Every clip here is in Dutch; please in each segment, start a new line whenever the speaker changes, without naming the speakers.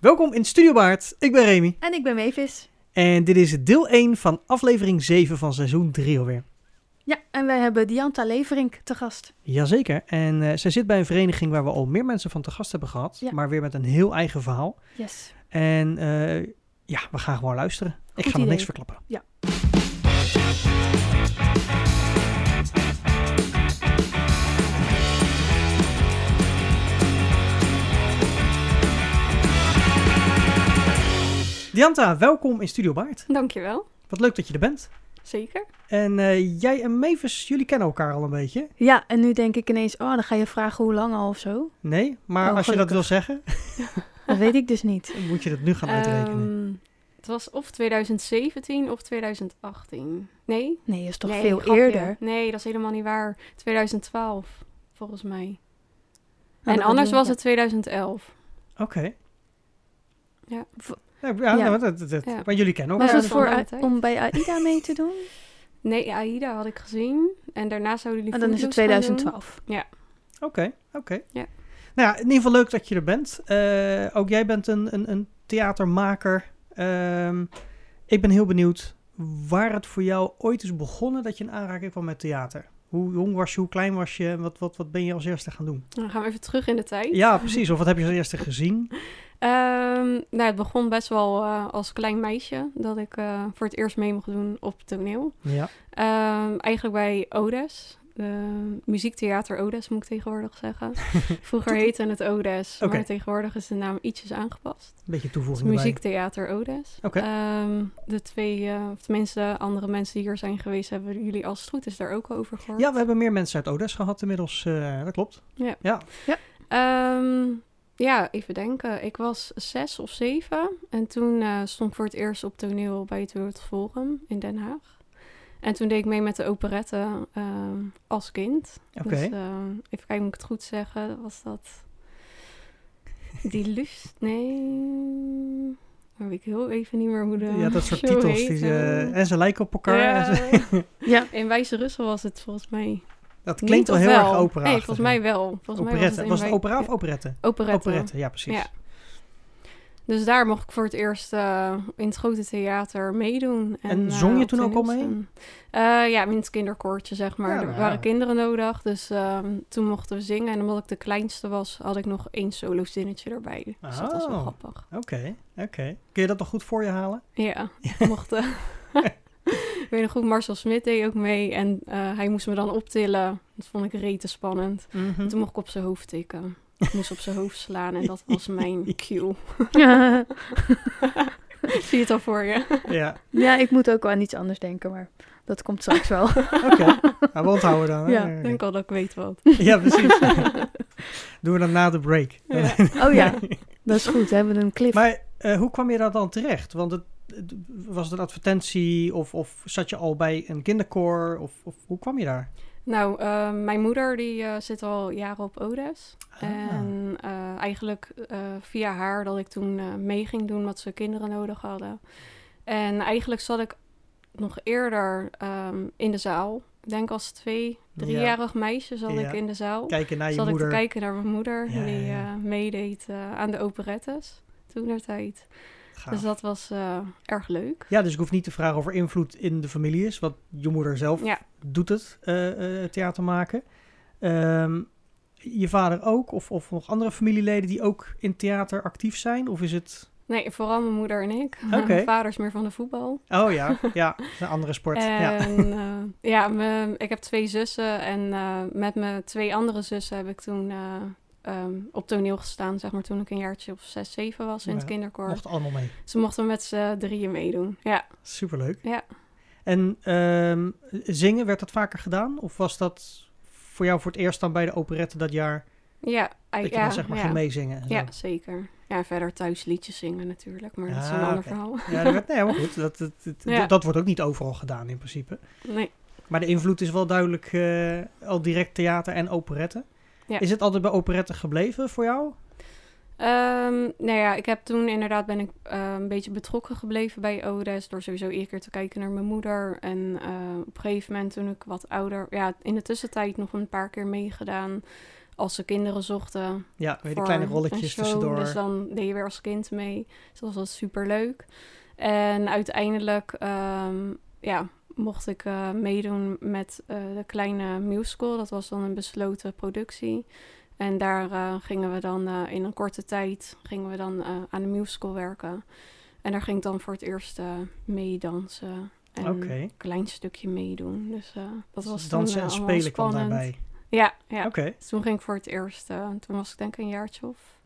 Welkom in Studio Baard, ik ben Remy
En ik ben Mavis.
en dit is deel 1 van aflevering 7 van seizoen 3 alweer.
Ja, en wij hebben Dianta Leverink te gast.
Jazeker, en eh, zij zit bij een vereniging waar we al meer mensen van te gast hebben gehad,
Ja.
maar weer met een heel eigen verhaal.
Yes.
En eh, ja, we gaan gewoon luisteren. ik
Goed
ga nog
idee.
niks verklappen.
Ja.
Dianta, welkom in Studio Baard.
Dankjewel.
Wat leuk dat je er bent.
Zeker.
En eh, jij en Mavis, jullie kennen elkaar al een beetje.
Ja, en nu denk ik ineens, oh, dan ga je vragen hoe lang al of zo.
Nee, maar
Oh,
als je dat
gelukkig.
wil zeggen,
Dat weet ik dus niet.
moet je dat nu gaan uitrekenen.
Ehm, het was of 2017 of 2018. Nee?
Nee, dat is toch
Nee,
veel
grapje.
eerder.
Nee, dat is helemaal niet waar. 2012, volgens mij.
Nou,
en
dat
anders
weet
was
ik
het 2011.
Oké.
Ja.
V-
Ja, ja,
Ja.
nou, dat, dat- dat-
Ja.
Maar jullie kennen
Was
elkaar.
Ja,
het
dat
voor
is al
A-
een tijd.
om bij AIDA mee te doen?
Nee, Aida had ik gezien. En daarna zouden jullie
En Oh, dan is het
Footloose gaan doen.
2012.
Oké, oké.
Ja.
Nou ja, in ieder geval leuk dat je er bent. Eh, ook jij bent een, een, een theatermaker. Ehm, ik ben heel benieuwd waar het voor jou ooit is begonnen dat je in aanraking kwam met theater. Hoe jong was je, hoe klein was je en wat, wat, wat ben je als eerste gaan doen?
Nou, Dan gaan we even terug in de tijd.
Ja, precies. Of wat heb je als eerste gezien?
Ehm, nou, het begon best wel eh, als klein meisje dat ik eh, voor het eerst mee mocht doen op toneel.
Ja,
Ehm, eigenlijk bij Odes. Ehm, muziektheater Odes moet ik tegenwoordig zeggen. Vroeger heette het Odes,
Oké.
maar tegenwoordig is de naam ietsjes aangepast.
een beetje
Het is
toevoeging erbij.
muziektheater Odes.
Oké.
Ehm, de twee, eh, of tenminste andere mensen die hier zijn geweest, hebben jullie als het goed is daar ook over gehoord.
Ja, we hebben meer mensen uit Odes gehad inmiddels. eh, dat klopt.
Ja.
Ja.
Ehm, ja, even denken. Ik was zes of zeven en toen eh, stond ik voor het eerst op toneel bij het World Forum in Den Haag. En toen deed ik mee met de operette ehm, als kind.
Oké.
Dus, ehm, even kijken, moet ik het goed zeggen? Was dat. Die lust? Nee. Dan weet ik heel even niet meer hoe de.
ja, dat soort
show
titels.
heet,
Die,
eh.
eh, en ze lijken op elkaar. en ze-
Ja.
Ja.
In Wijze Russel was het volgens mij.
dat
niet,
klinkt wel
of
heel erg opera.
Nee, volgens mij wel. Volgens mij was het,
Operette.
in
Was het
Wij-
opera of operette?
Ja, operette.
Operette, ja, precies.
Ja. Dus daar mocht ik voor het eerst eh, in het grote theater meedoen.
En
eh,
zong je
op
toen ook al
toneel
mee?
staan. Eh, ja, in het kinderkoortje, zeg maar.
Ja,
er
nou ja.
waren kinderen nodig, dus ehm, toen mochten we zingen. En omdat ik de kleinste was, had ik nog één solo zinnetje erbij. Dus dat was wel
Oh.
grappig.
Oké, oké. Kun je dat nog goed voor je halen?
Ja, mocht. eh, ik weet nog goed, Marcel Smit deed ook mee. En eh, hij moest me dan optillen. Dat vond ik rete spannend. En toen mocht ik op zijn hoofd tikken. Ik moest op zijn hoofd slaan en dat was mijn cue.
Ja.
Zie je het al voor je?
Ja,
ja, ik moet ook wel aan iets anders denken, maar dat komt straks wel.
oké. Nou, we onthouden dan. hè?
Ja,
Ik denk al dat ik weet wat.
ja, precies. Doen we dan na de break.
Ja.
Oh ja, dat is goed. We hebben een clip.
Maar eh, hoe kwam je daar dan terecht? Want het, het- was het een advertentie of, of zat je al bij een kinderkoor? Of, of hoe kwam je daar?
Nou, eh, mijn moeder die eh, zit al jaren op Odes.
Ah,
En eh, eigenlijk eh, via haar dat ik toen eh, mee ging doen wat ze kinderen nodig hadden. En eigenlijk zat ik nog eerder ehm, in de zaal. Ik denk als twee, driejarig meisje zat
Ja.
ik in de zaal.
Kijken naar je
zat ik
moeder.
te kijken naar mijn moeder
Ja,
die
ja, ja.
eh, meedeed eh, aan de operettes toen der tijd.
Nou. Gaaf.
Dus dat was eh, erg leuk.
Ja, dus ik hoef niet te vragen of er invloed in de familie is. Want je moeder zelf
Ja.
doet het, eh, eh, theater maken. Ehm, je vader ook? Of, of nog andere familieleden die ook in theater actief zijn? Of is het...
Nee, vooral mijn moeder en ik.
Oké.
Mijn vader is meer van de voetbal.
Oh ja, ja, een andere sport. ja.
En ja, ja me- ik heb twee zussen en eh, met mijn twee andere zussen heb ik toen eh, ehm, op toneel gestaan, zeg maar, toen ik een jaartje of zes, zeven was in
Ja,
het kinderkoor.
Mocht allemaal mee.
Ze mochten met z'n drieën meedoen, ja.
Superleuk.
Ja.
En ehm, zingen, werd dat vaker gedaan? Of was dat voor jou voor het eerst dan bij de operette dat jaar?
Ja, ei-
Dat je
ja,
dan zeg maar
ja.
ging meezingen? en zo?
Ja, zeker. Ja, verder thuis liedjes zingen natuurlijk, maar dat is een
Ah,
ander
oké.
verhaal.
ja dat werd, nee, maar goed. Dat, dat, dat,
Ja.
dat wordt ook niet overal gedaan in principe.
Nee,
Maar de invloed is wel duidelijk eh, al direct theater en operette.
Ja.
Is het altijd bij operette gebleven voor jou?
Ehm, nou ja, ik heb toen inderdaad ben ik eh, een beetje betrokken gebleven bij Odes. Door sowieso iedere keer te kijken naar mijn moeder. En eh, op een gegeven moment toen ik wat ouder... Ja, in de tussentijd nog een paar keer meegedaan. als ze kinderen zochten.
Ja, weet je,
voor
kleine
een
rolletjes
show,
tussendoor.
Dus dan deed je weer als kind mee. Dus dat was superleuk. En uiteindelijk ehm, ja, mocht ik eh, meedoen met eh, de kleine musical. Dat was dan een besloten productie. En daar eh, gingen we dan eh, in een korte tijd gingen we dan, eh, aan de musical werken. En daar ging ik dan voor het eerst eh, meedansen. En
Oké.
een klein stukje meedoen. Dus eh, dat was
Dus
toen,
dansen
eh,
en
allemaal
spelen kwam
spannend.
daarbij.
Ja, ja.
Oké.
Dus toen ging ik voor het eerst. eh, toen was ik denk ik een jaartje of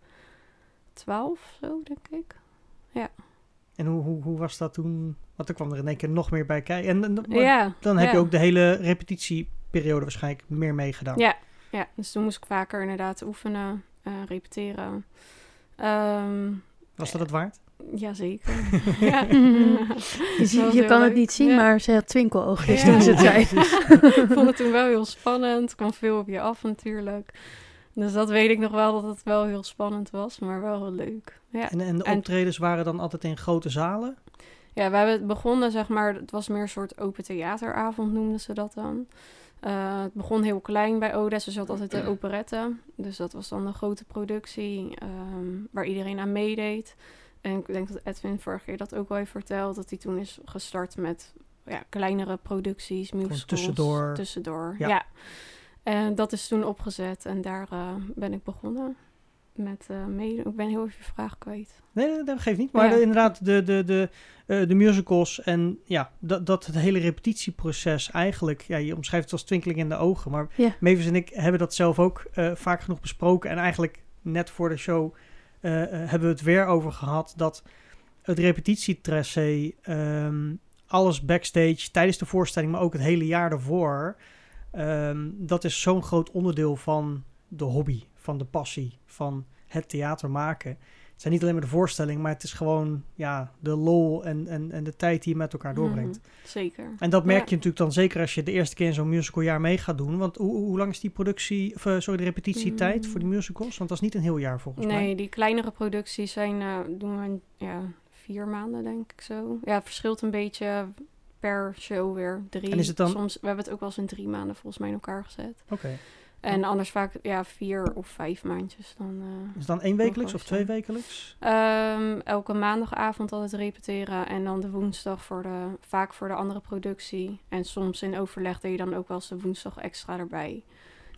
twaalf, zo denk ik.
En hoe, hoe, hoe was dat toen? Want er kwam er in één keer nog meer bij kijken. En, en- maar
ja.
dan heb
ja.
je ook de hele repetitieperiode waarschijnlijk meer meegedaan.
Ja, ja, dus toen moest ik vaker inderdaad oefenen, eh, repeteren. Ehm
Was dat het waard?
jazeker. ja.
Je,
Dat was
je
heel
kan het
leuk.
niet zien,
Ja.
maar ze had twinkeloogjes
Ja.
toen ze het zei.
ik vond het toen wel heel spannend. Er kwam veel op je af natuurlijk. Dus dat weet ik nog wel, dat het wel heel spannend was, maar wel heel leuk. Ja.
En, en de
En-
optredens waren dan altijd in grote zalen?
Ja, we hebben het begonnen, zeg maar, het was meer een soort open theateravond noemden ze dat dan. Eh, het begon heel klein bij Odes, dus je had altijd de operette. Dus dat was dan een grote productie ehm, waar iedereen aan meedeed. En ik denk dat Edwin vorige keer dat ook wel heeft verteld, dat hij toen is gestart met ja, kleinere producties, musicals.
tussendoor.
Tussendoor,
Ja.
ja. En dat is toen opgezet en daar eh, ben ik begonnen met eh meedoen. Ik ben heel even je vraag kwijt.
Nee, nee, dat geeft niet. Maar
Ja.
de- inderdaad, de, de, de, eh, de musicals en ja, dat, dat het hele repetitieproces eigenlijk, ja, je omschrijft het als twinkeling in de ogen. Maar
Ja.
Mavis en ik hebben dat zelf ook eh, vaak genoeg besproken. En eigenlijk net voor de show eh, eh, hebben we het weer over gehad dat het repetitietracé, ehm, alles backstage, tijdens de voorstelling, maar ook het hele jaar daarvoor, ehm, dat is zo'n groot onderdeel van de hobby, van de passie, van het theater maken. Het zijn niet alleen maar de voorstelling, maar het is gewoon ja, de lol en, en, en de tijd die je met elkaar doorbrengt.
Mhm, zeker.
En dat merk
Ja.
je natuurlijk dan zeker als je de eerste keer in zo'n musicaljaar mee gaat doen. Want hoe, hoe hoe lang is die productie, of, eh, sorry, de repetitietijd
Mm.
voor die musicals? Want dat is niet een heel jaar volgens
nee,
mij.
die kleinere producties zijn, eh, doen we in, ja, vier maanden, denk ik zo. Ja, het verschilt een beetje per show weer. Drie.
En is het dan-
Soms, we hebben het ook wel eens in drie maanden volgens mij in elkaar gezet.
Oké.
En anders vaak ja, vier of vijf maandjes dan. eh.
Is het dan één wekelijks of
wel
twee
eens,
wekelijks?
Ehm, elke maandagavond altijd repeteren en dan de woensdag voor de, vaak voor de andere productie. En soms in overleg deed je dan ook wel eens de woensdag extra erbij.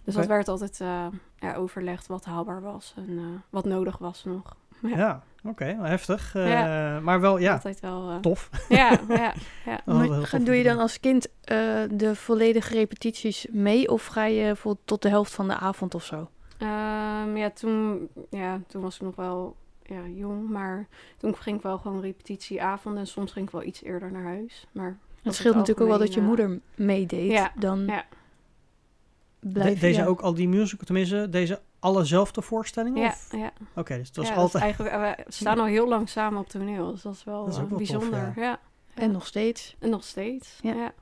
Dus dat
Oké.
werd altijd eh, ja, overlegd wat haalbaar was en eh, wat nodig was nog.
Ja,
Ja.
oké. wel heftig. Eh,
Ja.
Maar wel, ja,
Altijd wel eh,
tof.
Ja, ja, ja.
Dat hadden we
Maar
heel
ga-
tof
doe je dan
gedaan.
als kind eh, de volledige repetities mee of ga je bijvoorbeeld tot de helft van de avond of zo?
Ehm, ja, toen, ja, toen was ik nog wel ja, jong, maar toen ging ik wel gewoon repetitieavond en soms ging ik wel iets eerder naar huis. Maar
Het scheelt natuurlijk ook wel dat je moeder meedeed.
ja,
dan
ja.
blijf
De-
je-
deze
ja.
ook al die musical, tenminste, deze allezelfde voorstellingen?
eh, Ja,
of-
ja.
Oké, dus het was
Ja, dat is
altijd...
eigenlijk, we staan al heel lang samen op toneel, dus dat is wel,
Dat is ook
eh,
wel tof,
bijzonder.
ja.
ja.
En nog steeds.
en nog steeds.
Ja.
Ja.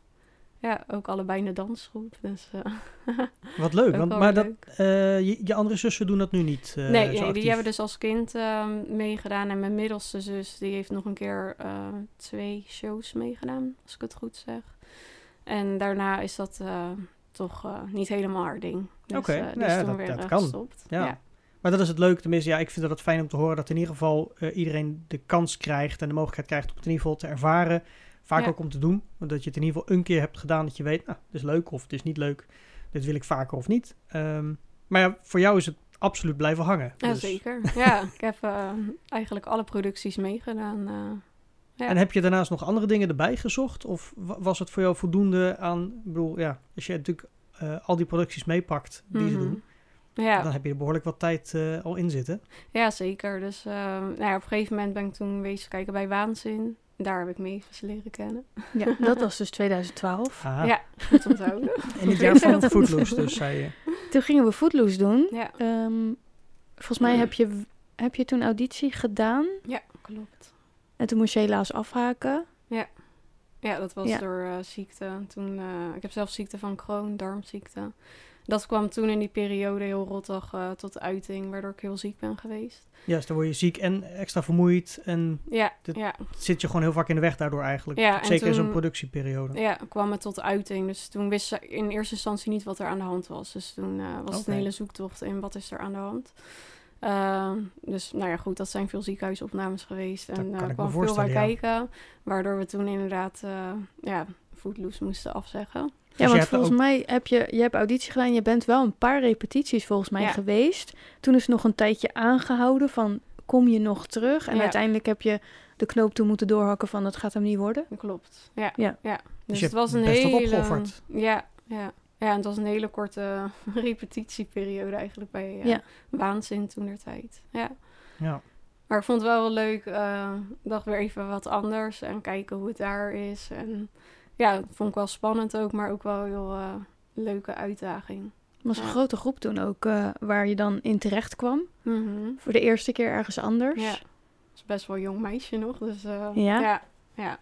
ja. ook allebei in de dansgroep, dus eh,
Wat leuk,
ook
want,
wel
maar
weer
dat,
leuk.
eh, je, je andere zussen doen dat nu niet eh,
nee,
zo
nee,
actief.
die hebben dus als kind ehm, meegedaan. En mijn middelste zus, die heeft nog een keer eh, twee shows meegedaan, als ik het goed zeg. En daarna is dat eh, toch eh, niet helemaal haar ding. Dus,
Oké,
eh,
nou
die is
ja,
toen
dat-
weer
dat
eh,
kan.
gestopt.
Ja.
Ja.
Maar dat is het leuke, tenminste. Ja, ik vind dat fijn om te horen dat in ieder geval eh, iedereen de kans krijgt en de mogelijkheid krijgt om het in ieder geval te ervaren. Vaak
Ja.
ook om te doen, want dat je het in ieder geval een keer hebt gedaan dat je weet, nou, dit is leuk of dit is niet leuk, dit wil ik vaker of niet. Ehm, maar ja, voor jou is het absoluut blijven hangen.
Ja,
Dus-
zeker. Ja, ik heb eh, eigenlijk alle producties meegedaan. eh. Ja.
En heb je daarnaast nog andere dingen erbij gezocht? Of wa- was het voor jou voldoende aan, ik bedoel, ja, als je natuurlijk eh, al die producties meepakt die ze
Mhm.
doen,
Ja.
dan heb je er behoorlijk wat tijd eh, al in zitten.
Ja, zeker. Dus eh, nou ja, op een gegeven moment ben ik toen wezen kijken bij Waanzin. Daar heb ik mee leren kennen.
Ja, dat was dus 2012.
Ah,
Ja, goed onthouden.
En dit jaar van Footloose dus, zei je.
Toen gingen we Footloose doen.
ja,
Ehm, volgens mij heb je, heb je toen auditie gedaan.
ja, klopt.
En toen moest je helaas afhaken.
Ja, dat was
Ja.
door eh, ziekte. Toen, eh, ik heb zelf ziekte van Crohn, darmziekte. dat kwam toen in die periode heel rottig eh, tot uiting, waardoor ik heel ziek ben geweest.
Juist, dan word je ziek en extra vermoeid en
Ja,
Dit-
ja,
zit je gewoon heel vaak in de weg daardoor eigenlijk.
Ja, en
Zeker in zo'n
toen-
productieperiode.
ja, kwam het tot uiting. Dus toen wist ze in eerste instantie niet wat er aan de hand was. Dus toen eh, was het
Oké.
een hele zoektocht in wat is er aan de hand. Ehm, dus nou ja, goed, dat zijn veel ziekenhuisopnames geweest.
Dat
En
kan
eh,
ik me
kwam veel bij
voorstellen, ja.
kijken, waardoor we toen inderdaad eh ja, foodloose moesten afzeggen.
jij
Ja, want
hebt
volgens
ook-
mij heb je, je hebt auditie gedaan. Je bent wel een paar repetities volgens mij
Ja.
geweest. Toen is nog een tijdje aangehouden van kom je nog terug? En
Ja.
uiteindelijk heb je de knoop toe moeten doorhakken van dat gaat hem niet worden.
Dat klopt. Ja.
Ja.
Dus,
je
het
hebt
was een
best wat
hele.
opgeofferd.
Ja, ja. Ja, en het was een hele korte repetitieperiode eigenlijk bij eh,
Ja.
Waanzin toen der tijd. Ja.
Ja.
Maar ik vond het wel wel leuk. eh dacht weer even wat anders en kijken hoe het daar is. En ja, dat vond ik wel spannend ook, maar ook wel een heel eh, leuke uitdaging.
Het was een
Ja.
grote groep toen ook eh, waar je dan in terecht kwam.
Mhm.
Voor de eerste keer ergens anders.
Ja. is best wel een jong meisje nog, dus eh,
Ja?
ja. ja.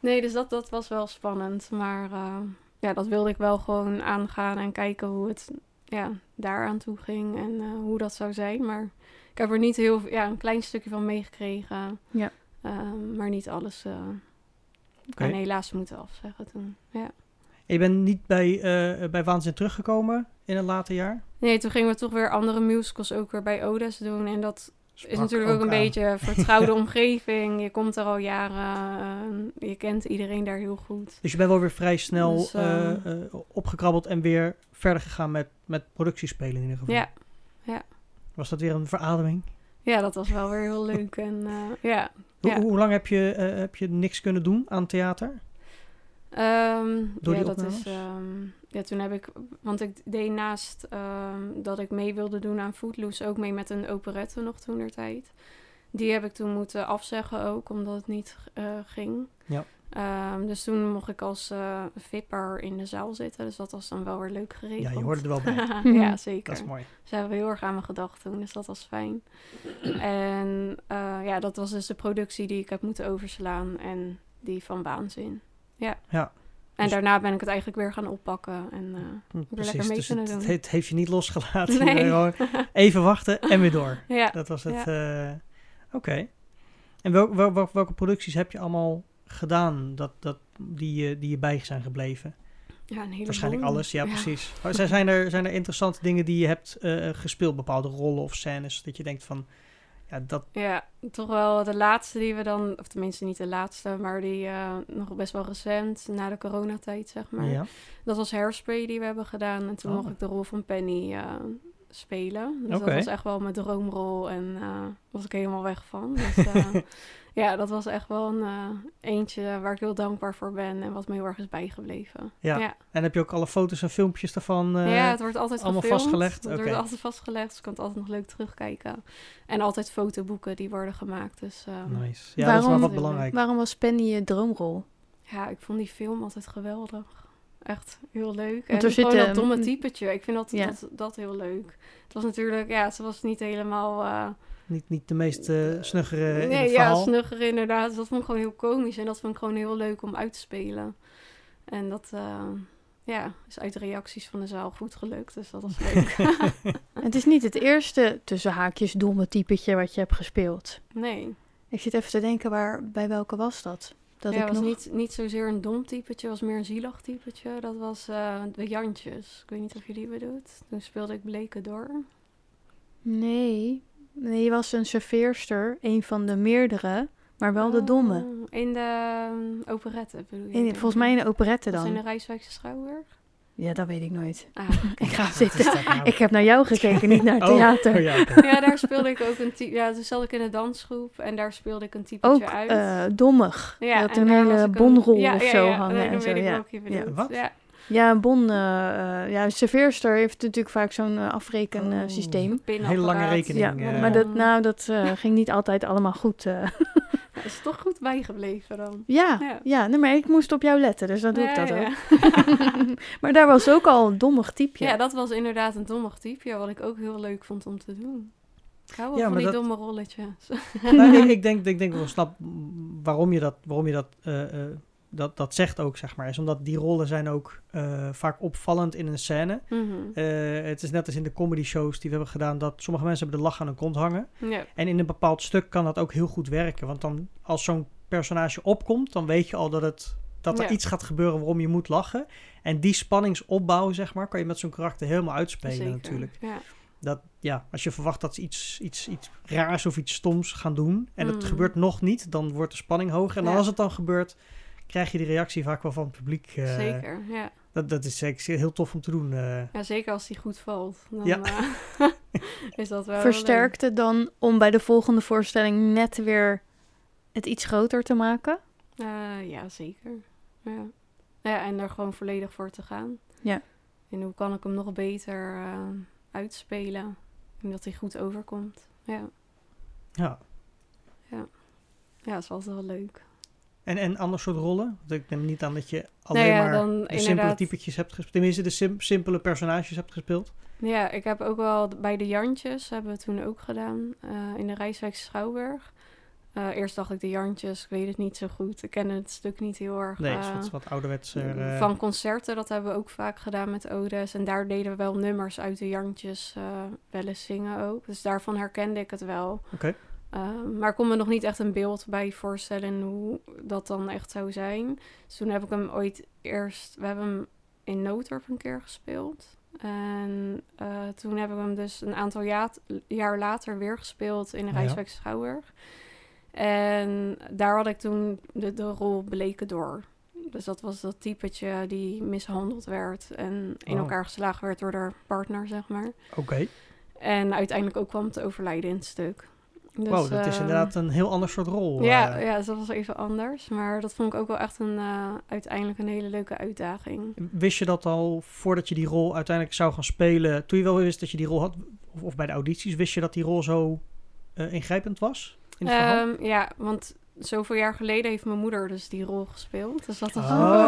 Nee, dus dat, dat was wel spannend. Maar eh, ja, dat wilde ik wel gewoon aangaan en kijken hoe het ja, daaraan toe ging en eh, hoe dat zou zijn. Maar ik heb er niet heel ja, een klein stukje van meegekregen.
Ja.
Eh, maar niet alles. eh
Oké.
En helaas moeten afzeggen toen. Ja.
En je bent niet bij, eh bij Waanzin teruggekomen in het late jaar?
Nee, toen gingen we toch weer andere musicals ook weer bij Odes doen. En dat is
Sprak
natuurlijk ook, een
aan.
beetje een vertrouwde omgeving. Je komt er al jaren. eh, Je kent iedereen daar heel goed.
Dus je bent wel weer vrij snel
Dus, eh,
eh, eh, opgekrabbeld en weer verder gegaan met, met productiespelen in ieder geval.
Ja,
Was dat weer een verademing?
ja, dat was wel weer heel leuk. En eh, ja,
Hoe,
Ja.
hoe lang heb je, eh, heb je niks kunnen doen aan theater?
Ehm,
Door
ja,
die
dat
opnames?
is. ehm, ja, toen heb ik. Want ik deed naast ehm, dat ik mee wilde doen aan Footloose ook mee met een operette nog toen der tijd. Die heb ik toen moeten afzeggen ook, omdat het niet eh, ging.
Ja.
Ehm, dus toen mocht ik als eh vipper in de zaal zitten. Dus dat was dan wel weer leuk geregeld.
Ja, je hoorde er wel bij.
ja, zeker.
Dat is mooi.
Ze hebben heel erg aan me gedacht toen, dus dat was fijn. En eh, ja, dat was dus de productie die ik heb moeten overslaan en die van waanzin. Ja.
Ja.
En
Dus-
daarna ben ik het eigenlijk weer gaan oppakken. En, eh,
Hm,
lekker mee
dus
kunnen
het,
doen.
het heeft- het heeft je niet losgelaten. Je
Nee.
bent gewoon even wachten en weer door.
ja,
Dat was het. eh, Oké. En wel, wel- wel- welke producties heb je allemaal gedaan dat, dat, die, je- die je bij zijn gebleven?
ja, een heleboel.
Waarschijnlijk alles, ja, precies. Maar Zijn, zijn, er, zijn er interessante dingen die je hebt eh, gespeeld, bepaalde rollen of scènes, dat je denkt van, ja, dat...
Ja, toch wel de laatste die we dan, of tenminste niet de laatste, maar die eh, nog best wel recent, na de coronatijd zeg maar.
ja.
Dat was Hairspray die we hebben gedaan. En toen
Oh.
mocht ik de rol van Penny eh, spelen. Dus
Oké.
dat was echt wel mijn droomrol. En eh was ik helemaal weg van. Dus, eh, ja, dat was echt wel een eh, eentje waar ik heel dankbaar voor ben. En wat me heel erg is bijgebleven.
Ja.
ja.
En heb je ook alle foto's en filmpjes daarvan? eh,
Ja, het wordt altijd
allemaal
gefilmd.
vastgelegd?
Het
Oké.
wordt altijd vastgelegd. Dus ik kan het altijd nog leuk terugkijken. En altijd fotoboeken die worden gemaakt. Dus eh,
Nice. Ja, dat is wel
Waarom-
wat belangrijk.
Waarom was Penny je droomrol?
ja, ik vond die film altijd geweldig. Echt heel leuk.
Want
en
er
gewoon
zitten- mm.
dat domme typetje. Ik vind dat,
Ja.
dat, dat heel leuk. Het was natuurlijk, ja, ze was niet helemaal... eh,
Niet, niet de meest eh, snuggere in
nee,
het
ja,
verhaal.
snugger inderdaad. Dat vond ik gewoon heel komisch. En dat vond ik gewoon heel leuk om uit te spelen. En dat, eh, ja, is uit de reacties van de zaal goed gelukt. Dus dat was leuk. Ah.
Het is niet het eerste tussen haakjes domme typetje wat je hebt gespeeld.
nee,
Ik zit even te denken, waar, bij welke was dat? Dat
ja,
ik
was
nog...
niet, niet zozeer een dom typetje. was meer een zielig typetje. Dat was eh, de Jantjes. Ik weet niet of je die bedoelt. Toen speelde ik Bleke door.
Nee. Nee, je was een serveerster. Een van de meerdere, maar wel de domme.
Oh, In de eh, operette bedoel je?
In,
denk
volgens
ik.
mij in de operette
Dat is in de
dan.
Rijswijkse Schouwburg.
Ja, dat weet ik nooit.
Ah,
Ik ga
Wat is
zitten.
dat nou?
Ik heb naar jou gekeken, niet naar het
Oh,
theater.
oh ja, oké.
ja, daar speelde ik ook een type. Ja, toen zat ik in de dansgroep en daar speelde ik een
Ook
typetje uit.
eh dommig.
ja,
je had
en
een
daar was
hele
ik ook-
bonrol
ja,
of
ja,
zo
ja,
hangen.
nee,
en
dan
zo,
weet ik
ja.
welke je
Ja.
bedoelt.
Wat?
Ja,
Ja, een bon. eh, eh, ja, een serveerster heeft natuurlijk vaak zo'n eh,
Oh.
afrekensysteem.
een
Hele lange
pinapparaat.
rekening.
ja,
eh.
maar dat, nou, dat eh, ging niet altijd allemaal goed. eh.
Ja, is toch goed bijgebleven dan.
Ja, ja.
Ja.
nee, maar ik moest op jou letten, dus dan doe ik
Ja,
dat
ja.
ook. maar daar was ook al een dommig typje.
Ja, dat was inderdaad een dommig type, wat ik ook heel leuk vond om te doen. Ik hou wel
Ja,
van
maar
die
dat-
domme rolletjes.
Nou, ik, ik denk, ik denk wel snap waarom je dat, waarom je dat eh, eh, dat, dat zegt ook, zeg maar, is omdat die rollen zijn ook eh, vaak opvallend in een scène.
Mhm.
Eh, het is net als in de comedy shows die we hebben gedaan, dat sommige mensen hebben de lach aan hun kont hangen.
Ja.
En in een bepaald stuk kan dat ook heel goed werken. Want dan als zo'n personage opkomt, dan weet je al dat, het, dat er
Ja.
iets gaat gebeuren waarom je moet lachen. En die spanningsopbouw, zeg maar, kan je met zo'n karakter helemaal uitspelen
Zeker.
natuurlijk.
Ja.
Dat, ja, als je verwacht dat ze iets, iets, iets raars of iets stoms gaan doen en het
Mm.
gebeurt nog niet, dan wordt de spanning hoger. En dan
Ja.
als het dan gebeurt, krijg je die reactie vaak wel van het publiek. eh,
Zeker, ja.
Dat, dat is zeker heel tof om te doen. eh.
ja. Zeker als die goed valt. Dan,
Ja.
eh, is dat wel leuk.
Versterkt het dan om bij de volgende voorstelling net weer het iets groter te maken?
Eh, ja, zeker. Ja. ja, en daar gewoon volledig voor te gaan.
Ja.
En hoe kan ik hem nog beter eh, uitspelen? En dat hij goed overkomt. Ja,
ja.
ja dat is altijd wel leuk.
En, en ander soort rollen? Want ik neem niet aan dat je alleen
Nou ja,
maar
dan
de simpele
inderdaad-
typetjes hebt gespeeld. Tenminste, de sim- simpele personages hebt gespeeld.
Ja, ik heb ook wel d- bij de Jantjes, hebben we toen ook gedaan, eh, in de Rijswijk Schouwburg. Eh, eerst dacht ik de Jantjes, ik weet het niet zo goed. Ik ken het stuk niet heel erg.
Nee,
eh,
is wat, wat ouderwetser. eh,
Mm, Van concerten, dat hebben we ook vaak gedaan met Odes. En daar deden we wel nummers uit de Jantjes eh, wel eens zingen ook. Dus daarvan herkende ik het wel.
Oké.
Eh, maar ik kon me nog niet echt een beeld bij voorstellen hoe dat dan echt zou zijn. Dus toen heb ik hem ooit eerst... We hebben hem in Noodorp een keer gespeeld. En eh, toen hebben we hem dus een aantal ja- jaar later weer gespeeld in de
Ja.
Rijswijk Schouwburg. En daar had ik toen de, de rol Bleken door. Dus dat was dat typetje die mishandeld werd en in
Wauw.
elkaar geslagen werd door haar partner, zeg maar.
Oké,
En uiteindelijk ook kwam te overlijden in het stuk. Dus,
wow, dat is
eh,
inderdaad een heel ander soort rol.
Ja,
eh.
ja, dus dat was even anders. Maar dat vond ik ook wel echt een, eh, uiteindelijk een hele leuke uitdaging.
Wist je dat al voordat je die rol uiteindelijk zou gaan spelen? Toen je wel wist dat je die rol had, of, of bij de audities, wist je dat die rol zo eh, ingrijpend was? In het verhaal?
Ehm, ja, want zoveel jaar geleden heeft mijn moeder dus die rol gespeeld. Dus dat was
Oh.
wel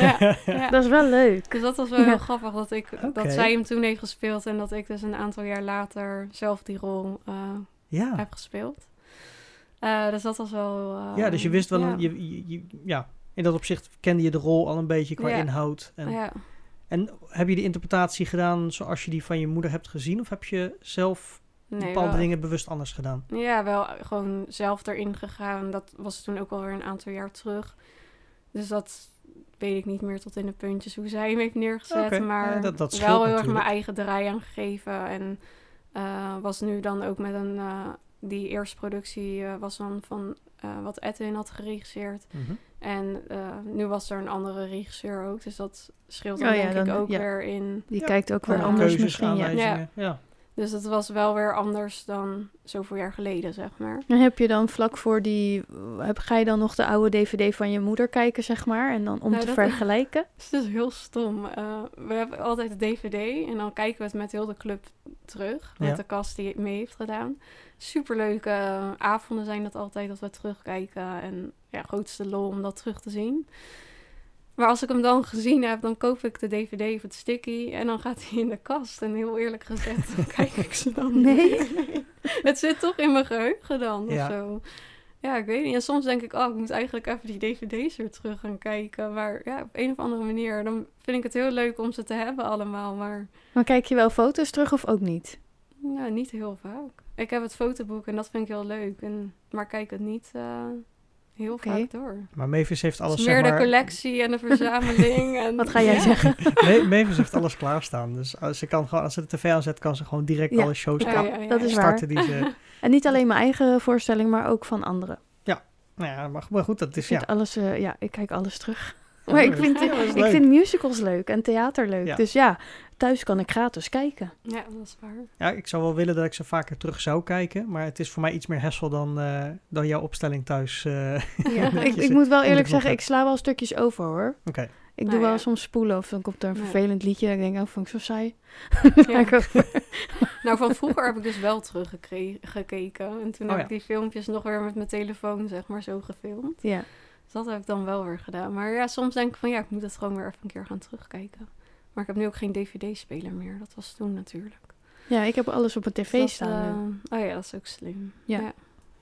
Ja, ja.
Dat is wel leuk.
Dus dat was wel
Ja.
heel grappig dat, ik,
Oké.
dat zij hem toen heeft gespeeld en dat ik dus een aantal jaar later zelf die rol eh,
ja.
heb gespeeld. Eh, dus dat was wel. eh,
ja, dus je wist wel,
ja.
Een, je, je- je- ja, in dat opzicht kende je de rol al een beetje qua
Ja.
inhoud. En,
ja.
En heb je de interpretatie gedaan zoals je die van je moeder hebt gezien? Of heb je zelf
Nee,
bepaalde
wel,
dingen bewust anders gedaan?
ja, wel gewoon zelf erin gegaan. Dat was toen ook alweer een aantal jaar terug. Dus dat weet ik niet meer tot in de puntjes hoe zij hem heeft neergezet.
Oké,
Maar
ja, dat- dat scheelt
wel heel erg
natuurlijk.
mijn eigen draai aan gegeven. En eh, was nu dan ook met een. eh, die eerste productie eh, was dan van eh, wat Edwin had geregisseerd.
Mhm.
En eh, nu was er een andere regisseur ook, dus dat scheelt dan
Oh ja,
denk
dan-
ik ook
ja.
weer in.
Die
Ja,
kijkt ook
Qua
weer
ja.
anders
keuzes,
misschien. Ja.
aanwijzingen. Ja.
Dus het was wel weer anders dan zoveel jaar geleden, zeg maar.
En heb je dan vlak voor die... Heb, ga je dan nog de oude dvd van je moeder kijken, zeg maar? En dan om
Nou,
te
dat-
vergelijken?
Dus het is heel stom. Eh, we hebben altijd de DVD en dan kijken we het met heel de club terug. Met
Ja.
de kast die het mee heeft gedaan. Superleuke eh, avonden zijn dat altijd dat we terugkijken. En ja, grootste lol om dat terug te zien. Maar als ik hem dan gezien heb, dan koop ik de DVD of het sticky. En dan gaat hij in de kast. En heel eerlijk gezegd, dan kijk ik ze dan niet.
Nee.
Het zit toch in mijn geheugen dan
Ja.
of zo. Ja, ik weet niet. En soms denk ik, oh, ik moet eigenlijk even die dvd's weer terug gaan kijken. Maar ja, op een of andere manier, dan vind ik het heel leuk om ze te hebben allemaal. Maar
Maar kijk je wel foto's terug of ook niet?
nou, niet heel vaak. Ik heb het fotoboek en dat vind ik heel leuk. En, maar kijk het niet eh, heel
Oké.
vaak door.
Maar Mavis heeft
Het
alles,
is meer
zeg
de
maar,
collectie en de verzameling. en,
Wat ga jij
Ja.
zeggen?
Ma- Mavis heeft alles klaarstaan. Dus als ze, kan gewoon, als ze de tv aanzet, kan ze gewoon direct
Ja.
alle shows
Ja,
ka-
ja, ja.
Dat is waar.
starten die ze...
En niet alleen mijn eigen voorstelling, maar ook van anderen.
Nou ja, maar, maar goed, dat
Ik
is
vind
ja...
alles, eh, ja, ik kijk alles terug.
Ja,
Maar ik
leuk.
vind,
Ja, dat is
ik
leuk.
vind musicals leuk en theater leuk.
Ja.
Dus ja, thuis kan ik gratis kijken.
Ja, dat is waar.
ja, ik zou wel willen dat ik ze vaker terug zou kijken. Maar het is voor mij iets meer hessel dan, eh, dan jouw opstelling thuis. eh.
Ja, ik,
je
ik
ze
moet wel eerlijk
knop
zeggen,
hebt.
ik sla wel stukjes over hoor.
Oké.
Ik
Nou
doe wel
ja.
soms spoelen of dan komt er een
Nee.
vervelend liedje. En ik denk, oh, vond ik zo saai.
Ja.
Maar ik-
Nou, van vroeger heb ik dus wel teruggekeken. En toen
Oh,
heb
ja.
ik die filmpjes nog weer met mijn telefoon, zeg maar, zo gefilmd.
ja.
Dus dat heb ik dan wel weer gedaan. Maar ja, soms denk ik van ja, ik moet het gewoon weer even een keer gaan terugkijken. Maar ik heb nu ook geen dvd-speler meer. Dat was toen natuurlijk.
ja, ik heb alles op mijn tv
Dus dat,
staan. nu.
eh, oh ja, dat is ook slim.
Ja.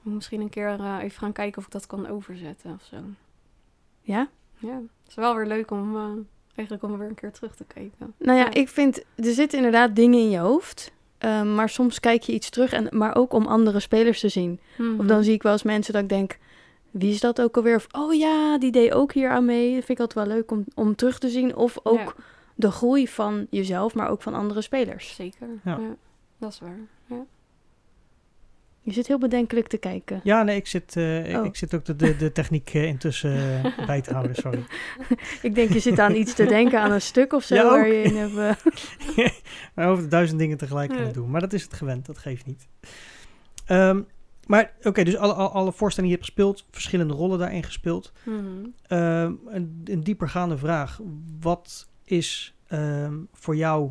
Moet Misschien een keer eh, even gaan kijken of ik dat kan overzetten of zo.
Ja?
Ja, het is wel weer leuk om eh, eigenlijk om weer een keer terug te kijken.
Nou ja,
Ja.
ik vind, er zitten inderdaad dingen in je hoofd. eh, maar soms kijk je iets terug, en, maar ook om andere spelers te zien.
Mhm.
Of dan zie ik wel eens mensen dat ik denk, wie is dat ook alweer? Of, oh ja, die deed ook hier aan mee. Dat vind ik altijd wel leuk om, om terug te zien. Of ook
Ja,
de groei van jezelf, maar ook van andere spelers.
zeker.
Ja.
Ja. dat is waar. Ja.
Je zit heel bedenkelijk te kijken.
Ja, nee, ik zit, eh, ik-
Oh.
ik zit ook de, de, de techniek eh, intussen eh, bij te houden, sorry.
Ik denk, je zit aan iets te denken, aan een stuk of zo
Ja,
waar
ook.
je in hebt... eh,
Mijn hoofd duizend dingen tegelijk aan het
Ja.
doen. Maar dat is het gewend, dat geeft niet. Ehm, maar oké, dus alle, alle, alle voorstellingen die je hebt gespeeld, verschillende rollen daarin gespeeld.
Mhm.
Ehm, een, een diepergaande vraag. Wat is ehm, voor jou,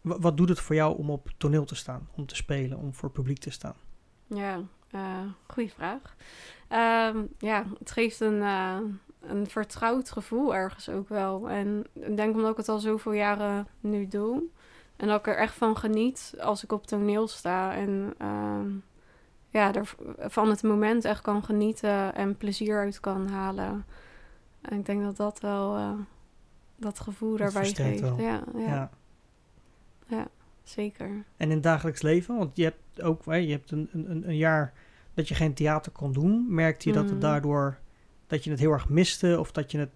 wa- wat doet het voor jou om op toneel te staan, om te spelen, om voor publiek te staan?
Ja, eh goede vraag. Ehm, ja, het geeft een, eh, een vertrouwd gevoel ergens ook wel. En ik denk omdat ik het al zoveel jaren nu doe. En dat ik er echt van geniet als ik op toneel sta. En ehm, ja, er v- van het moment echt kan genieten en plezier uit kan halen. En ik denk dat dat wel eh, dat gevoel daarbij
versterkt
geeft.
wel.
Ja, ja,
Ja.
zeker.
En in het dagelijks leven, want je hebt ook hè, je hebt een, een, een- een jaar dat je geen theater kon doen. Merkte je dat het
Mhm.
daardoor, dat je het heel erg miste of dat je het...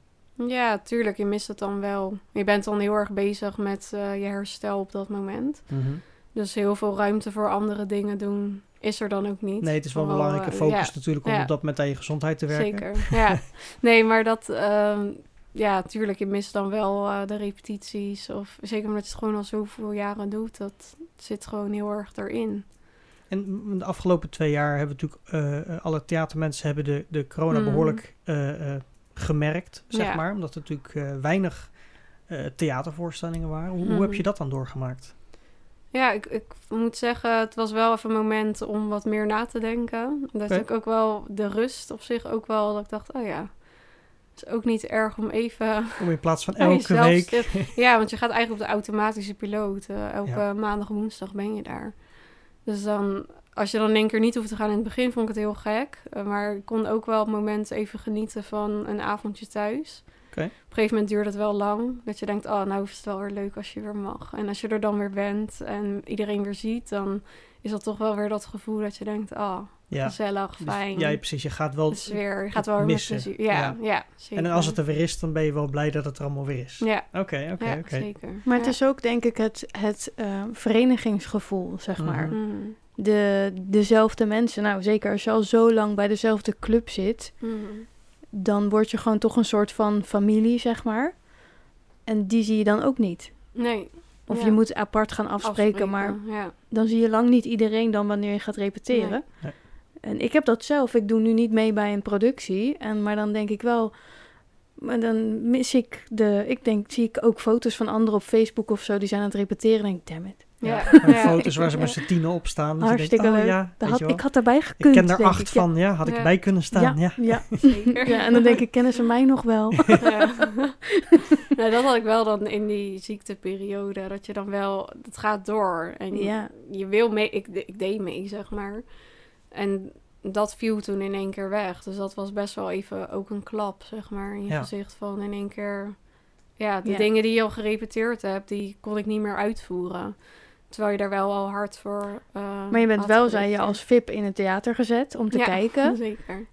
Ja, tuurlijk, je mist het dan wel. Je bent dan heel erg bezig met eh, je herstel op dat moment. Dus heel veel ruimte voor andere dingen doen is er dan ook niet.
Nee, het is wel een
Vooral,
belangrijke
eh,
focus
ja,
natuurlijk om
ja.
op dat moment aan je gezondheid te werken.
Zeker, ja. Nee, maar dat... ehm, ja, tuurlijk, je mist dan wel eh, de repetities. Of, zeker omdat je het gewoon al zoveel jaren doet. Dat zit gewoon heel erg erin.
En de afgelopen twee jaar hebben we natuurlijk eh, eh, alle theatermensen hebben de, de corona
Mm.
behoorlijk eh, eh, gemerkt, zeg
Ja.
maar. Omdat er natuurlijk eh, weinig eh, theatervoorstellingen waren. Hoe, hoe heb
Mhm.
je dat dan doorgemaakt?
Ja, ik, ik moet zeggen, het was wel even een moment om wat meer na te denken. Dat
Oké.
ik ook wel de rust op zich ook wel... Dat ik dacht, oh ja, het is ook niet erg om even...
Om in plaats van
Aan
elke
jezelf
week.
stil- Ja, want je gaat eigenlijk op de automatische piloot. Eh, elke
Ja.
maandag en woensdag ben je daar. Dus dan, als je dan in één keer niet hoeft te gaan in het begin, vond ik het heel gek. Eh, maar ik kon ook wel op het moment even genieten van een avondje thuis.
Oké.
Op een gegeven moment duurt het wel lang. Dat je denkt, oh, nou is het wel weer leuk als je weer mag. En als je er dan weer bent en iedereen weer ziet, dan is dat toch wel weer dat gevoel dat je denkt, oh,
Ja.
gezellig,
Dus
fijn.
jij precies, je gaat wel.
de sfeer, je
het
gaat wel weer met
missen.
plezier. Ja,
Ja.
ja.
En
zeker.
als het er weer is, dan ben je wel blij dat het er allemaal weer is.
Ja,
Oké, oké,
ja,
oké.
zeker.
Maar het
Ja.
is ook denk ik het, het eh, verenigingsgevoel, zeg
Mhm.
maar.
Mhm.
De, dezelfde mensen, nou zeker als je al zo lang bij dezelfde club zit,
Mhm.
dan word je gewoon toch een soort van familie, zeg maar. En die zie je dan ook niet.
Nee.
Of
Ja.
je moet apart gaan afspreken, maar
Ja.
dan zie je lang niet iedereen dan wanneer je gaat repeteren.
Nee.
Nee.
En ik heb dat zelf. Ik doe nu niet mee bij een productie. En, maar dan denk ik wel. Maar dan mis ik de. Ik denk, zie ik ook foto's van anderen op Facebook of zo. Die zijn aan het repeteren. En denk ik, damn it.
Ja.
Ja.
maar
Ja.
Foto's waar ze met z'n tienen op staan. Dus je denkt,
Hartstikke
oh
leuk.
ja,
Daar
weet
had,
je wel.
ik had daarbij
Ik
gekund.
ken daar
denk
acht
ik.
van, ja, had ik
Ja.
bij kunnen staan. Ja.
Ja,
Zeker.
ja, en dan denk ik, kennen ze mij nog wel?
Ja. nou, dat had ik wel dan in die ziekteperiode. Dat je dan wel... Het gaat door. En
Ja.
je wil mee... Ik, ik deed mee, zeg maar. En dat viel toen in één keer weg. Dus dat was best wel even ook een klap, zeg maar. In je
Ja.
gezicht van in één keer... Ja, de
Ja.
dingen die je al gerepeteerd hebt, die kon ik niet meer uitvoeren. Terwijl je daar wel al hard voor... eh,
Maar je bent
had
wel, zei je,
gerepeteerd.
als VIP in het theater gezet om te
Ja,
kijken.
Zeker.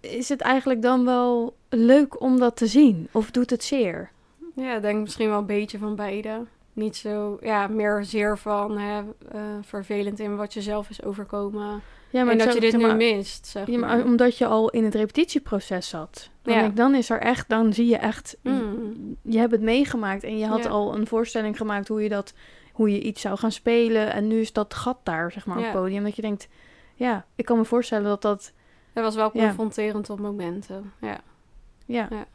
Is het eigenlijk dan wel leuk om dat te zien? Of doet het zeer?
Ja, ik denk misschien wel een beetje van beide. Niet zo, ja, meer zeer van hè, eh, vervelend in wat je zelf is overkomen.
Ja,
en
het
dat
zou-
je dit
zeg
nu
maar-
mist, zeg
Ja,
maar.
maar omdat je al in het repetitieproces zat. Dan,
Ja.
denk ik, dan is er echt, dan zie je echt,
Mm.
je hebt het meegemaakt en je had
Ja.
al een voorstelling gemaakt hoe je dat, hoe je iets zou gaan spelen. En nu is dat gat daar, zeg maar, op
Ja.
het podium. Dat je denkt, ja, ik kan me voorstellen dat dat,
Dat was wel
Ja.
confronterend op momenten, ja.
ja. Het
Ja.
is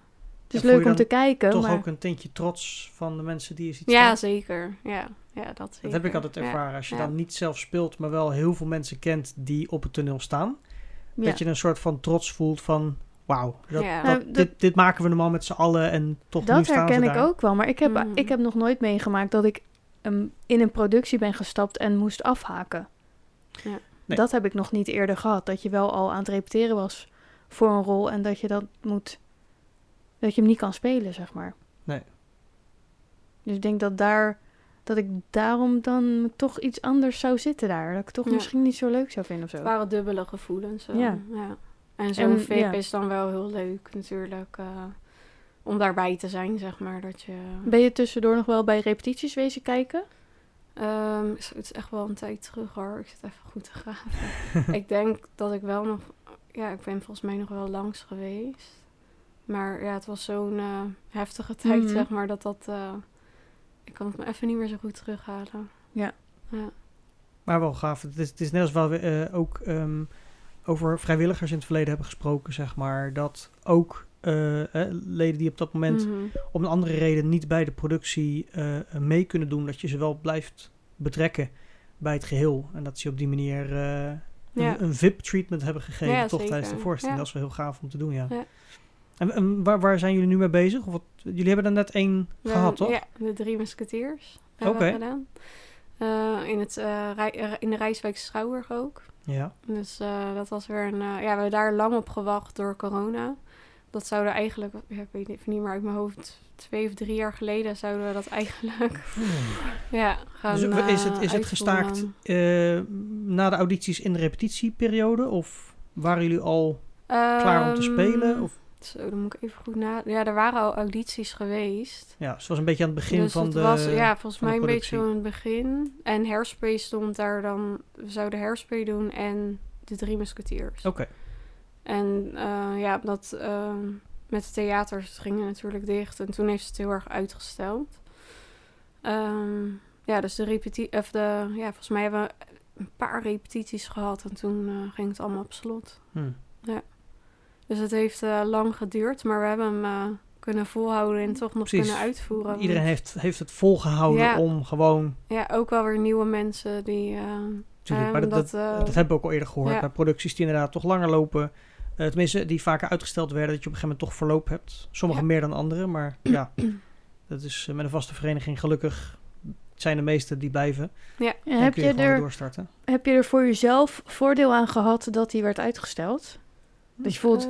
Ja, voel je
leuk om
dan
te kijken,
Toch
maar
ook een tintje trots van de mensen die je ziet staan.
Ja, zeker. Ja, ja dat zeker.
Dat heb ik altijd
Ja.
ervaren. Als je
ja.
dan niet zelf speelt, maar wel heel veel mensen kent die op het toneel staan.
ja.
Dat je een soort van trots voelt van wauw, dat,
Ja.
dat-
Nou, dat-
dit, dit maken we normaal met z'n allen en toch nu
dat
staan
herken
ze
ik
daar.
ook wel. Maar ik heb,
Mm.
ik heb nog nooit meegemaakt dat ik ehm, in een productie ben gestapt en moest afhaken.
Ja.
Nee.
Dat heb ik nog niet eerder gehad. Dat je wel al aan het repeteren was voor een rol en dat je dat moet Dat je hem niet kan spelen, zeg maar.
Nee.
Dus ik denk dat daar dat ik daarom dan toch iets anders zou zitten daar. Dat ik het toch
Ja.
misschien niet zo leuk zou vinden of zo.
Het waren dubbele gevoelens. eh,
Ja.
ja. En zo'n
En,
VIP
ja.
is dan wel heel leuk natuurlijk. eh, om daarbij te zijn, zeg maar. Dat je...
Ben je tussendoor nog wel bij repetities wezen kijken?
Ehm, zo, het is echt wel een tijd terug hoor. Ik zit even goed te graven. ik denk dat ik wel nog... Ja, ik ben volgens mij nog wel langs geweest. Maar ja, het was zo'n eh, heftige tijd,
Mhm.
zeg maar, dat dat... eh, ik kan het me even niet meer zo goed terughalen.
Maar wel gaaf. Het is, het is net als wat we eh, ook ehm, over vrijwilligers in het verleden hebben gesproken, zeg maar. Dat ook eh, eh, leden die op dat moment
Mhm.
om een andere reden niet bij de productie eh, mee kunnen doen, dat je ze wel blijft betrekken bij het geheel. En dat ze op die manier eh,
Ja.
een, een VIP-treatment hebben gegeven,
Ja,
toch tijdens de
zeker.
voorstelling.
Ja.
Dat is wel heel gaaf om te doen, ja.
Ja.
En, en waar, waar zijn jullie nu mee bezig? Of wat, jullie hebben er net één
We-
gehad, toch?
Ja, de Drie Musketeers hebben we
Oké.
gedaan. Eh, in, het, eh, Rij- eh, in de Rijswijk Schouwburg ook.
Ja.
Dus eh, dat was weer een... eh, ja, we hebben daar lang op gewacht door corona. Dat zouden eigenlijk... Ja, ik weet even niet meer uit mijn hoofd... Twee of drie jaar geleden zouden we dat eigenlijk ja, gaan
Dus is het,
eh,
is het
uitvoeren.
gestaakt eh, na de audities in de repetitieperiode? Of waren jullie al klaar om te
Ehm,
spelen? Of,
Zo, dan moet ik even goed na... Ja, er waren al audities geweest.
ja, het was een beetje aan het begin
dus
van
het
de...
was, ja, volgens
van de
mij een
productie.
beetje zo in het begin. En Hairspray stond daar dan... We zouden Hairspray doen en de Drie Musketeers.
Oké,
En eh, ja, dat, eh, met de theaters gingen natuurlijk dicht. En toen heeft ze het heel erg uitgesteld. Ehm, ja, dus de repetitie... Of de... Ja, volgens mij hebben we een paar repetities gehad. En toen eh, ging het allemaal op slot.
Hm.
Dus het heeft eh, lang geduurd. Maar we hebben hem eh, kunnen volhouden en toch nog
Precies.
kunnen uitvoeren.
Iedereen heeft, heeft het volgehouden
Ja.
om gewoon...
Ja, ook wel weer nieuwe mensen die... eh,
Tuurlijk,
eh,
maar dat, dat,
omdat, eh,
dat hebben we ook al eerder gehoord.
ja.
Bij producties die inderdaad toch langer lopen. eh, tenminste, die vaker uitgesteld werden. Dat je op een gegeven moment toch verloop hebt. Sommige
Ja.
meer dan anderen. Maar ja, dat is eh, met een vaste vereniging gelukkig... zijn de meesten die blijven.
En
En
heb
kun je,
je,
gewoon weer
er,
doorstarten.
heb je er voor jezelf voordeel aan gehad dat die werd uitgesteld? Dat je bijvoorbeeld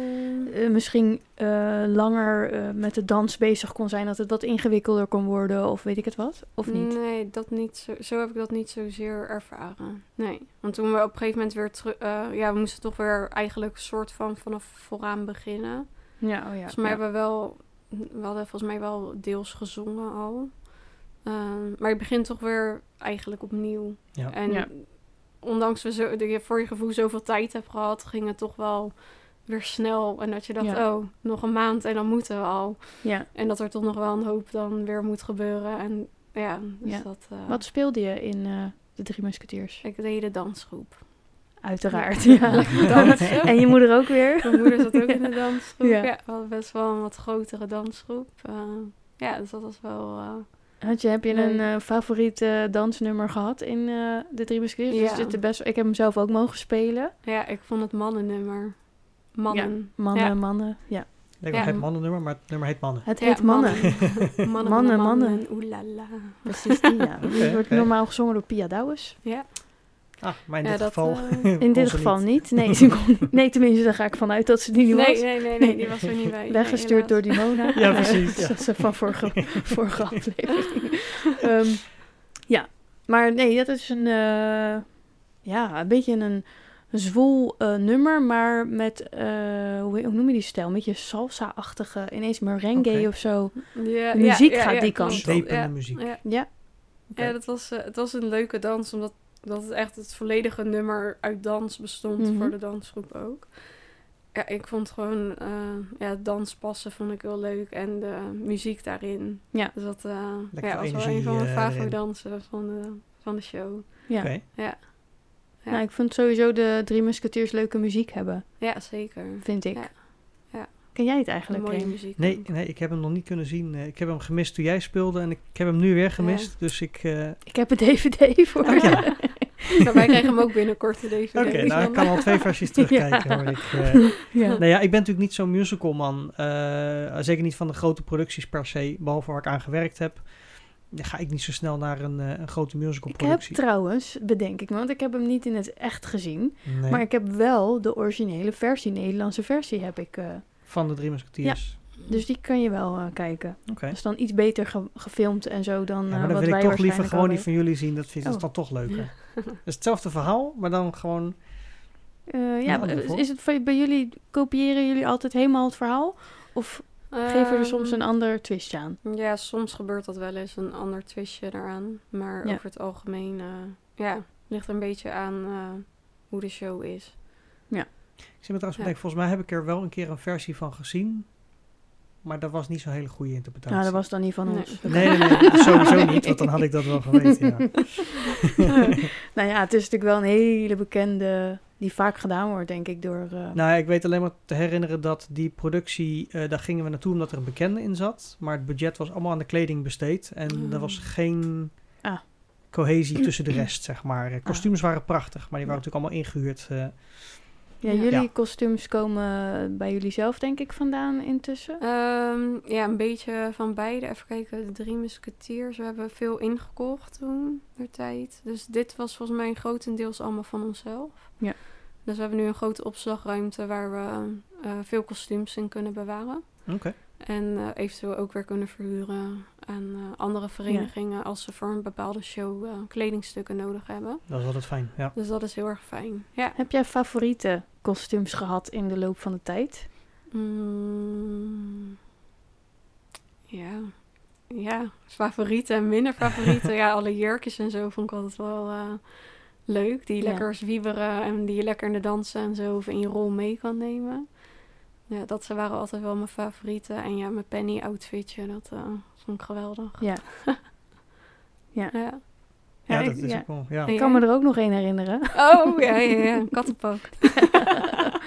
eh,
eh, misschien eh, langer eh, met de dans bezig kon zijn, dat het wat ingewikkelder kon worden of weet ik het wat? Of niet?
Nee, dat niet zo, zo heb ik dat niet zozeer ervaren. Nee, want toen we op een gegeven moment weer terug... eh, ja, we moesten toch weer eigenlijk een soort van vanaf vooraan beginnen.
Ja, oh ja.
volgens mij
ja.
hebben we wel... We hadden volgens mij wel deels gezongen al. Ehm, maar je begint toch weer eigenlijk opnieuw.
Ja.
En
Ja.
ondanks we zo, dat je voor je gevoel zoveel tijd hebt gehad... ging het toch wel weer snel. En dat je dacht,
Ja.
oh, nog een maand en dan moeten we al.
Ja.
En dat er toch nog wel een hoop dan weer moet gebeuren. En ja, dus
Ja.
dat... eh,
Wat speelde je in eh, De Drie Musketeers?
Ik deed de dansgroep.
Uiteraard, ja.
dansen.
En je moeder ook weer?
Mijn moeder zat ook in de dansgroep.
Ja.
Ja. we hadden best wel een wat grotere dansgroep. Eh, ja, dus dat was wel... eh,
Had je, heb je een
Nee.
eh, favoriet eh, dansnummer gehad in eh, De Drie Musketeers? Dus
Ja.
dit de best, ik heb hem zelf ook mogen spelen.
ja, ik vond het mannennummer. Mannen.
Mannen,
Ja.
mannen. Ja.
Lekker, het
Ja.
heet mannennummer, maar het nummer heet mannen.
Het
Ja,
heet Mannen.
Mannen, mannen.
Mannen,
mannen,
mannen.
Oeh la la.
Precies die, ja. Die
Oké,
wordt
oké.
normaal gezongen door Pia Douwes.
Ja,
Ah, maar in
Ja,
dit
dat,
geval...
eh,
In dit
onze
geval
niet.
niet. Nee, ze kon- nee, tenminste, daar ga ik vanuit dat ze die niet
nee,
was.
nee, nee, nee, die was er niet bij. Nee,
Weggestuurd door die Mona.
Ja, precies,
Dat
ja.
is van vorige, vorige aflevering. Ehm, ja, maar nee, dat is een... eh, ja, een beetje een zwoel eh, nummer, maar met... eh, hoe, hoe noem je die stijl? Een beetje salsa-achtige, ineens merengue
Oké.
of zo.
helaas. Ja,
De muziek
ja, ja,
gaat die
klopt.
kant op.
Zwepende
Ja,
muziek.
Ja,
Ja,
Oké.
ja dat was, eh, het was een leuke dans, omdat dat het echt het volledige nummer uit dans bestond
Mhm.
voor de dansgroep ook. Ja, ik vond gewoon eh ja, het danspassen vond ik heel leuk en de muziek daarin.
Ja.
Dus dat eh,
Lekker
ja, was wel
energie,
een van mijn
eh,
favoriete
erin.
dansen van de, van de show.
ja.
Oké.
Ja.
Nou, ik vond sowieso de Drie Musketeers leuke muziek hebben,
Ja, zeker.
vind ik.
Ja. Ja.
Ken jij het
Een
eigenlijk?
mooie
Ken?
muziek.
Nee, nee, ik heb hem nog niet kunnen zien. Eh, Ik heb hem gemist toen jij speelde en ik, ik heb hem nu weer gemist. Dus ik... eh,
Ik heb een DVD voor.
Oh ja.
Maar wij krijgen hem ook binnenkort in deze
Oké, nou ik kan al twee versies terugkijken hoor. Ik, eh,
ja.
nou ja, ik ben natuurlijk niet zo'n musicalman. eh, zeker niet van de grote producties per se, behalve waar ik aan gewerkt heb. Dan ga ik niet zo snel naar een, eh, een grote
Ik heb
musicalproductie.
trouwens, bedenk ik me, want ik heb hem niet in het echt gezien.
Nee,
Maar ik heb wel de originele versie, Nederlandse versie heb ik. eh,
Van de Drie Musketeers.
Dus die kan je wel eh, kijken.
Oké.
Dat is dan iets beter ge- gefilmd en zo dan
Ja,
eh,
maar dan
wat
wil
wij
ik toch liever
waarschijnlijk
gewoon
al
die van jullie zien. Dat vind ik
Oh.
dan toch leuker. Het is hetzelfde verhaal, maar dan gewoon...
weten. Eh,
Ja,
ja,
dat wel.
is het voor- bij jullie, kopiëren jullie altijd helemaal het verhaal? Of geven er soms
Ehm.
een ander twistje aan?
Ja, soms gebeurt dat wel eens, een ander twistje eraan. Maar
Ja.
over het algemeen, eh, ja, ligt een beetje aan eh, hoe de show is.
Ik zit me trouwens te
Ja.
denken, volgens mij heb ik er wel een keer een versie van gezien. Maar dat was niet zo'n hele goede interpretatie.
Nou, dat was dan niet van
Nee.
ons.
Nee, nee, nee, sowieso niet, want dan had ik dat wel geweten. Ja.
nou ja, het is natuurlijk wel een hele bekende die vaak gedaan wordt, denk ik, door... eh,
Nou, ik weet alleen maar te herinneren dat die productie, eh, daar gingen we naartoe omdat er een bekende in zat. Maar het budget was allemaal aan de kleding besteed. En er was geen
Ah.
cohesie tussen de rest, zeg maar. Eh, Kostuums waren prachtig, maar die waren natuurlijk allemaal ingehuurd. eh.
ja,
Ja.
jullie
Ja.
kostuums komen bij jullie zelf, denk ik, vandaan intussen.
Ehm, ja, een beetje van beide. Even kijken, de drie musketeers. We hebben veel ingekocht toen, der tijd. Dus dit was volgens mij grotendeels allemaal van onszelf.
Ja.
Dus we hebben nu een grote opslagruimte waar we eh, veel kostuums in kunnen bewaren.
Oké.
En eh, eventueel ook weer kunnen verhuren aan eh, andere verenigingen als ze voor een bepaalde show eh, kledingstukken nodig hebben.
Dat was altijd fijn, ja.
Dus dat is heel erg fijn. Ja.
Heb jij favoriete kostuums gehad in de loop van de tijd?
Mm. ja. Ja, favorieten en minder favorieten. ja, alle jurkjes en zo vond ik altijd wel eh, leuk. Die je
Ja.
lekker zwieberen en die je lekker in de dansen en zo of in je rol mee kan nemen. Ja, dat ze waren altijd wel mijn favorieten. En ja, mijn penny outfitje, dat eh, vond ik geweldig.
Ja. Ja.
ja.
Ja,
Ja,
dat
ik-
is
ja.
ook wel, ja.
Ik
Ja.
kan me er ook nog één herinneren.
Oh, ja, ja, ja. Een kattenpak.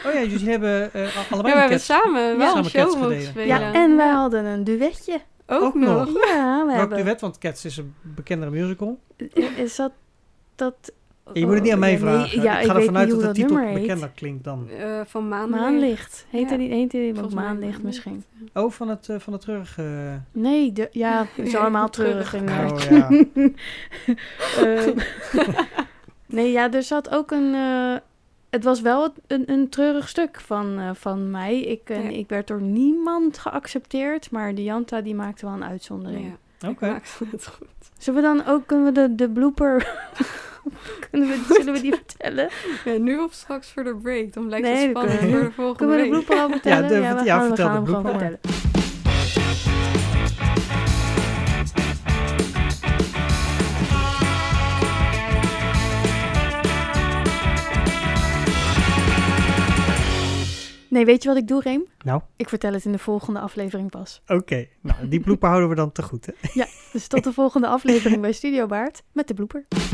Oh ja, jullie hebben eh, al-
Ja,
allebei
we
een
hebben
cat.
samen wel
Samen
een show
Cats
mogen
gedaan.
spelen.
Ja, en wij hadden een duetje.
ook,
ook nog.
nog.
Ja, we
Welk
hebben...
duet, want Cats is een bekendere musical.
Is dat... dat
je moet het niet aan mij
Oh, Ja, nee,
vragen.
ja,
ik ga
weet
ervan uit
niet
dat
hoe
de titel
nummer heet.
bekender klinkt dan.
Eh, van maandag.
Maanlicht. Heet hij
Ja.
niet die ook
Volgens mij
Maanlicht
Maanlicht.
misschien?
Oh, van het, eh, van het treurige...
Nee, de, ja, het is
Ja,
allemaal
treurig.
treurig. inderdaad.
Oh ja.
Eh, nee, ja, er zat ook een. eh, het was wel het- een, een treurig stuk van, eh, van mij. Ik, eh,
Ja.
ik werd door niemand geaccepteerd, maar Dianta die maakte wel een uitzondering.
Ja,
Oké.
ik maakte het goed.
Zullen we dan ook kunnen we de, de blooper. kunnen we, zullen we die vertellen?
Ja, nu of straks voor de break. Dan blijkt
Nee,
het
dat
spannend
kunnen we
voor de volgende
Kunnen we de
week.
blooper al vertellen?
de-
we
ja,
gaan, we
vertel
gaan
de
hem gewoon
blooper.
vertellen. Nee, weet je wat ik doe, Reem?
Nou?
Ik vertel het in de volgende aflevering pas.
Oké, nou, die bloepen houden we dan te goed, hè?
Dus tot de volgende aflevering bij Studio Baard met de blooper.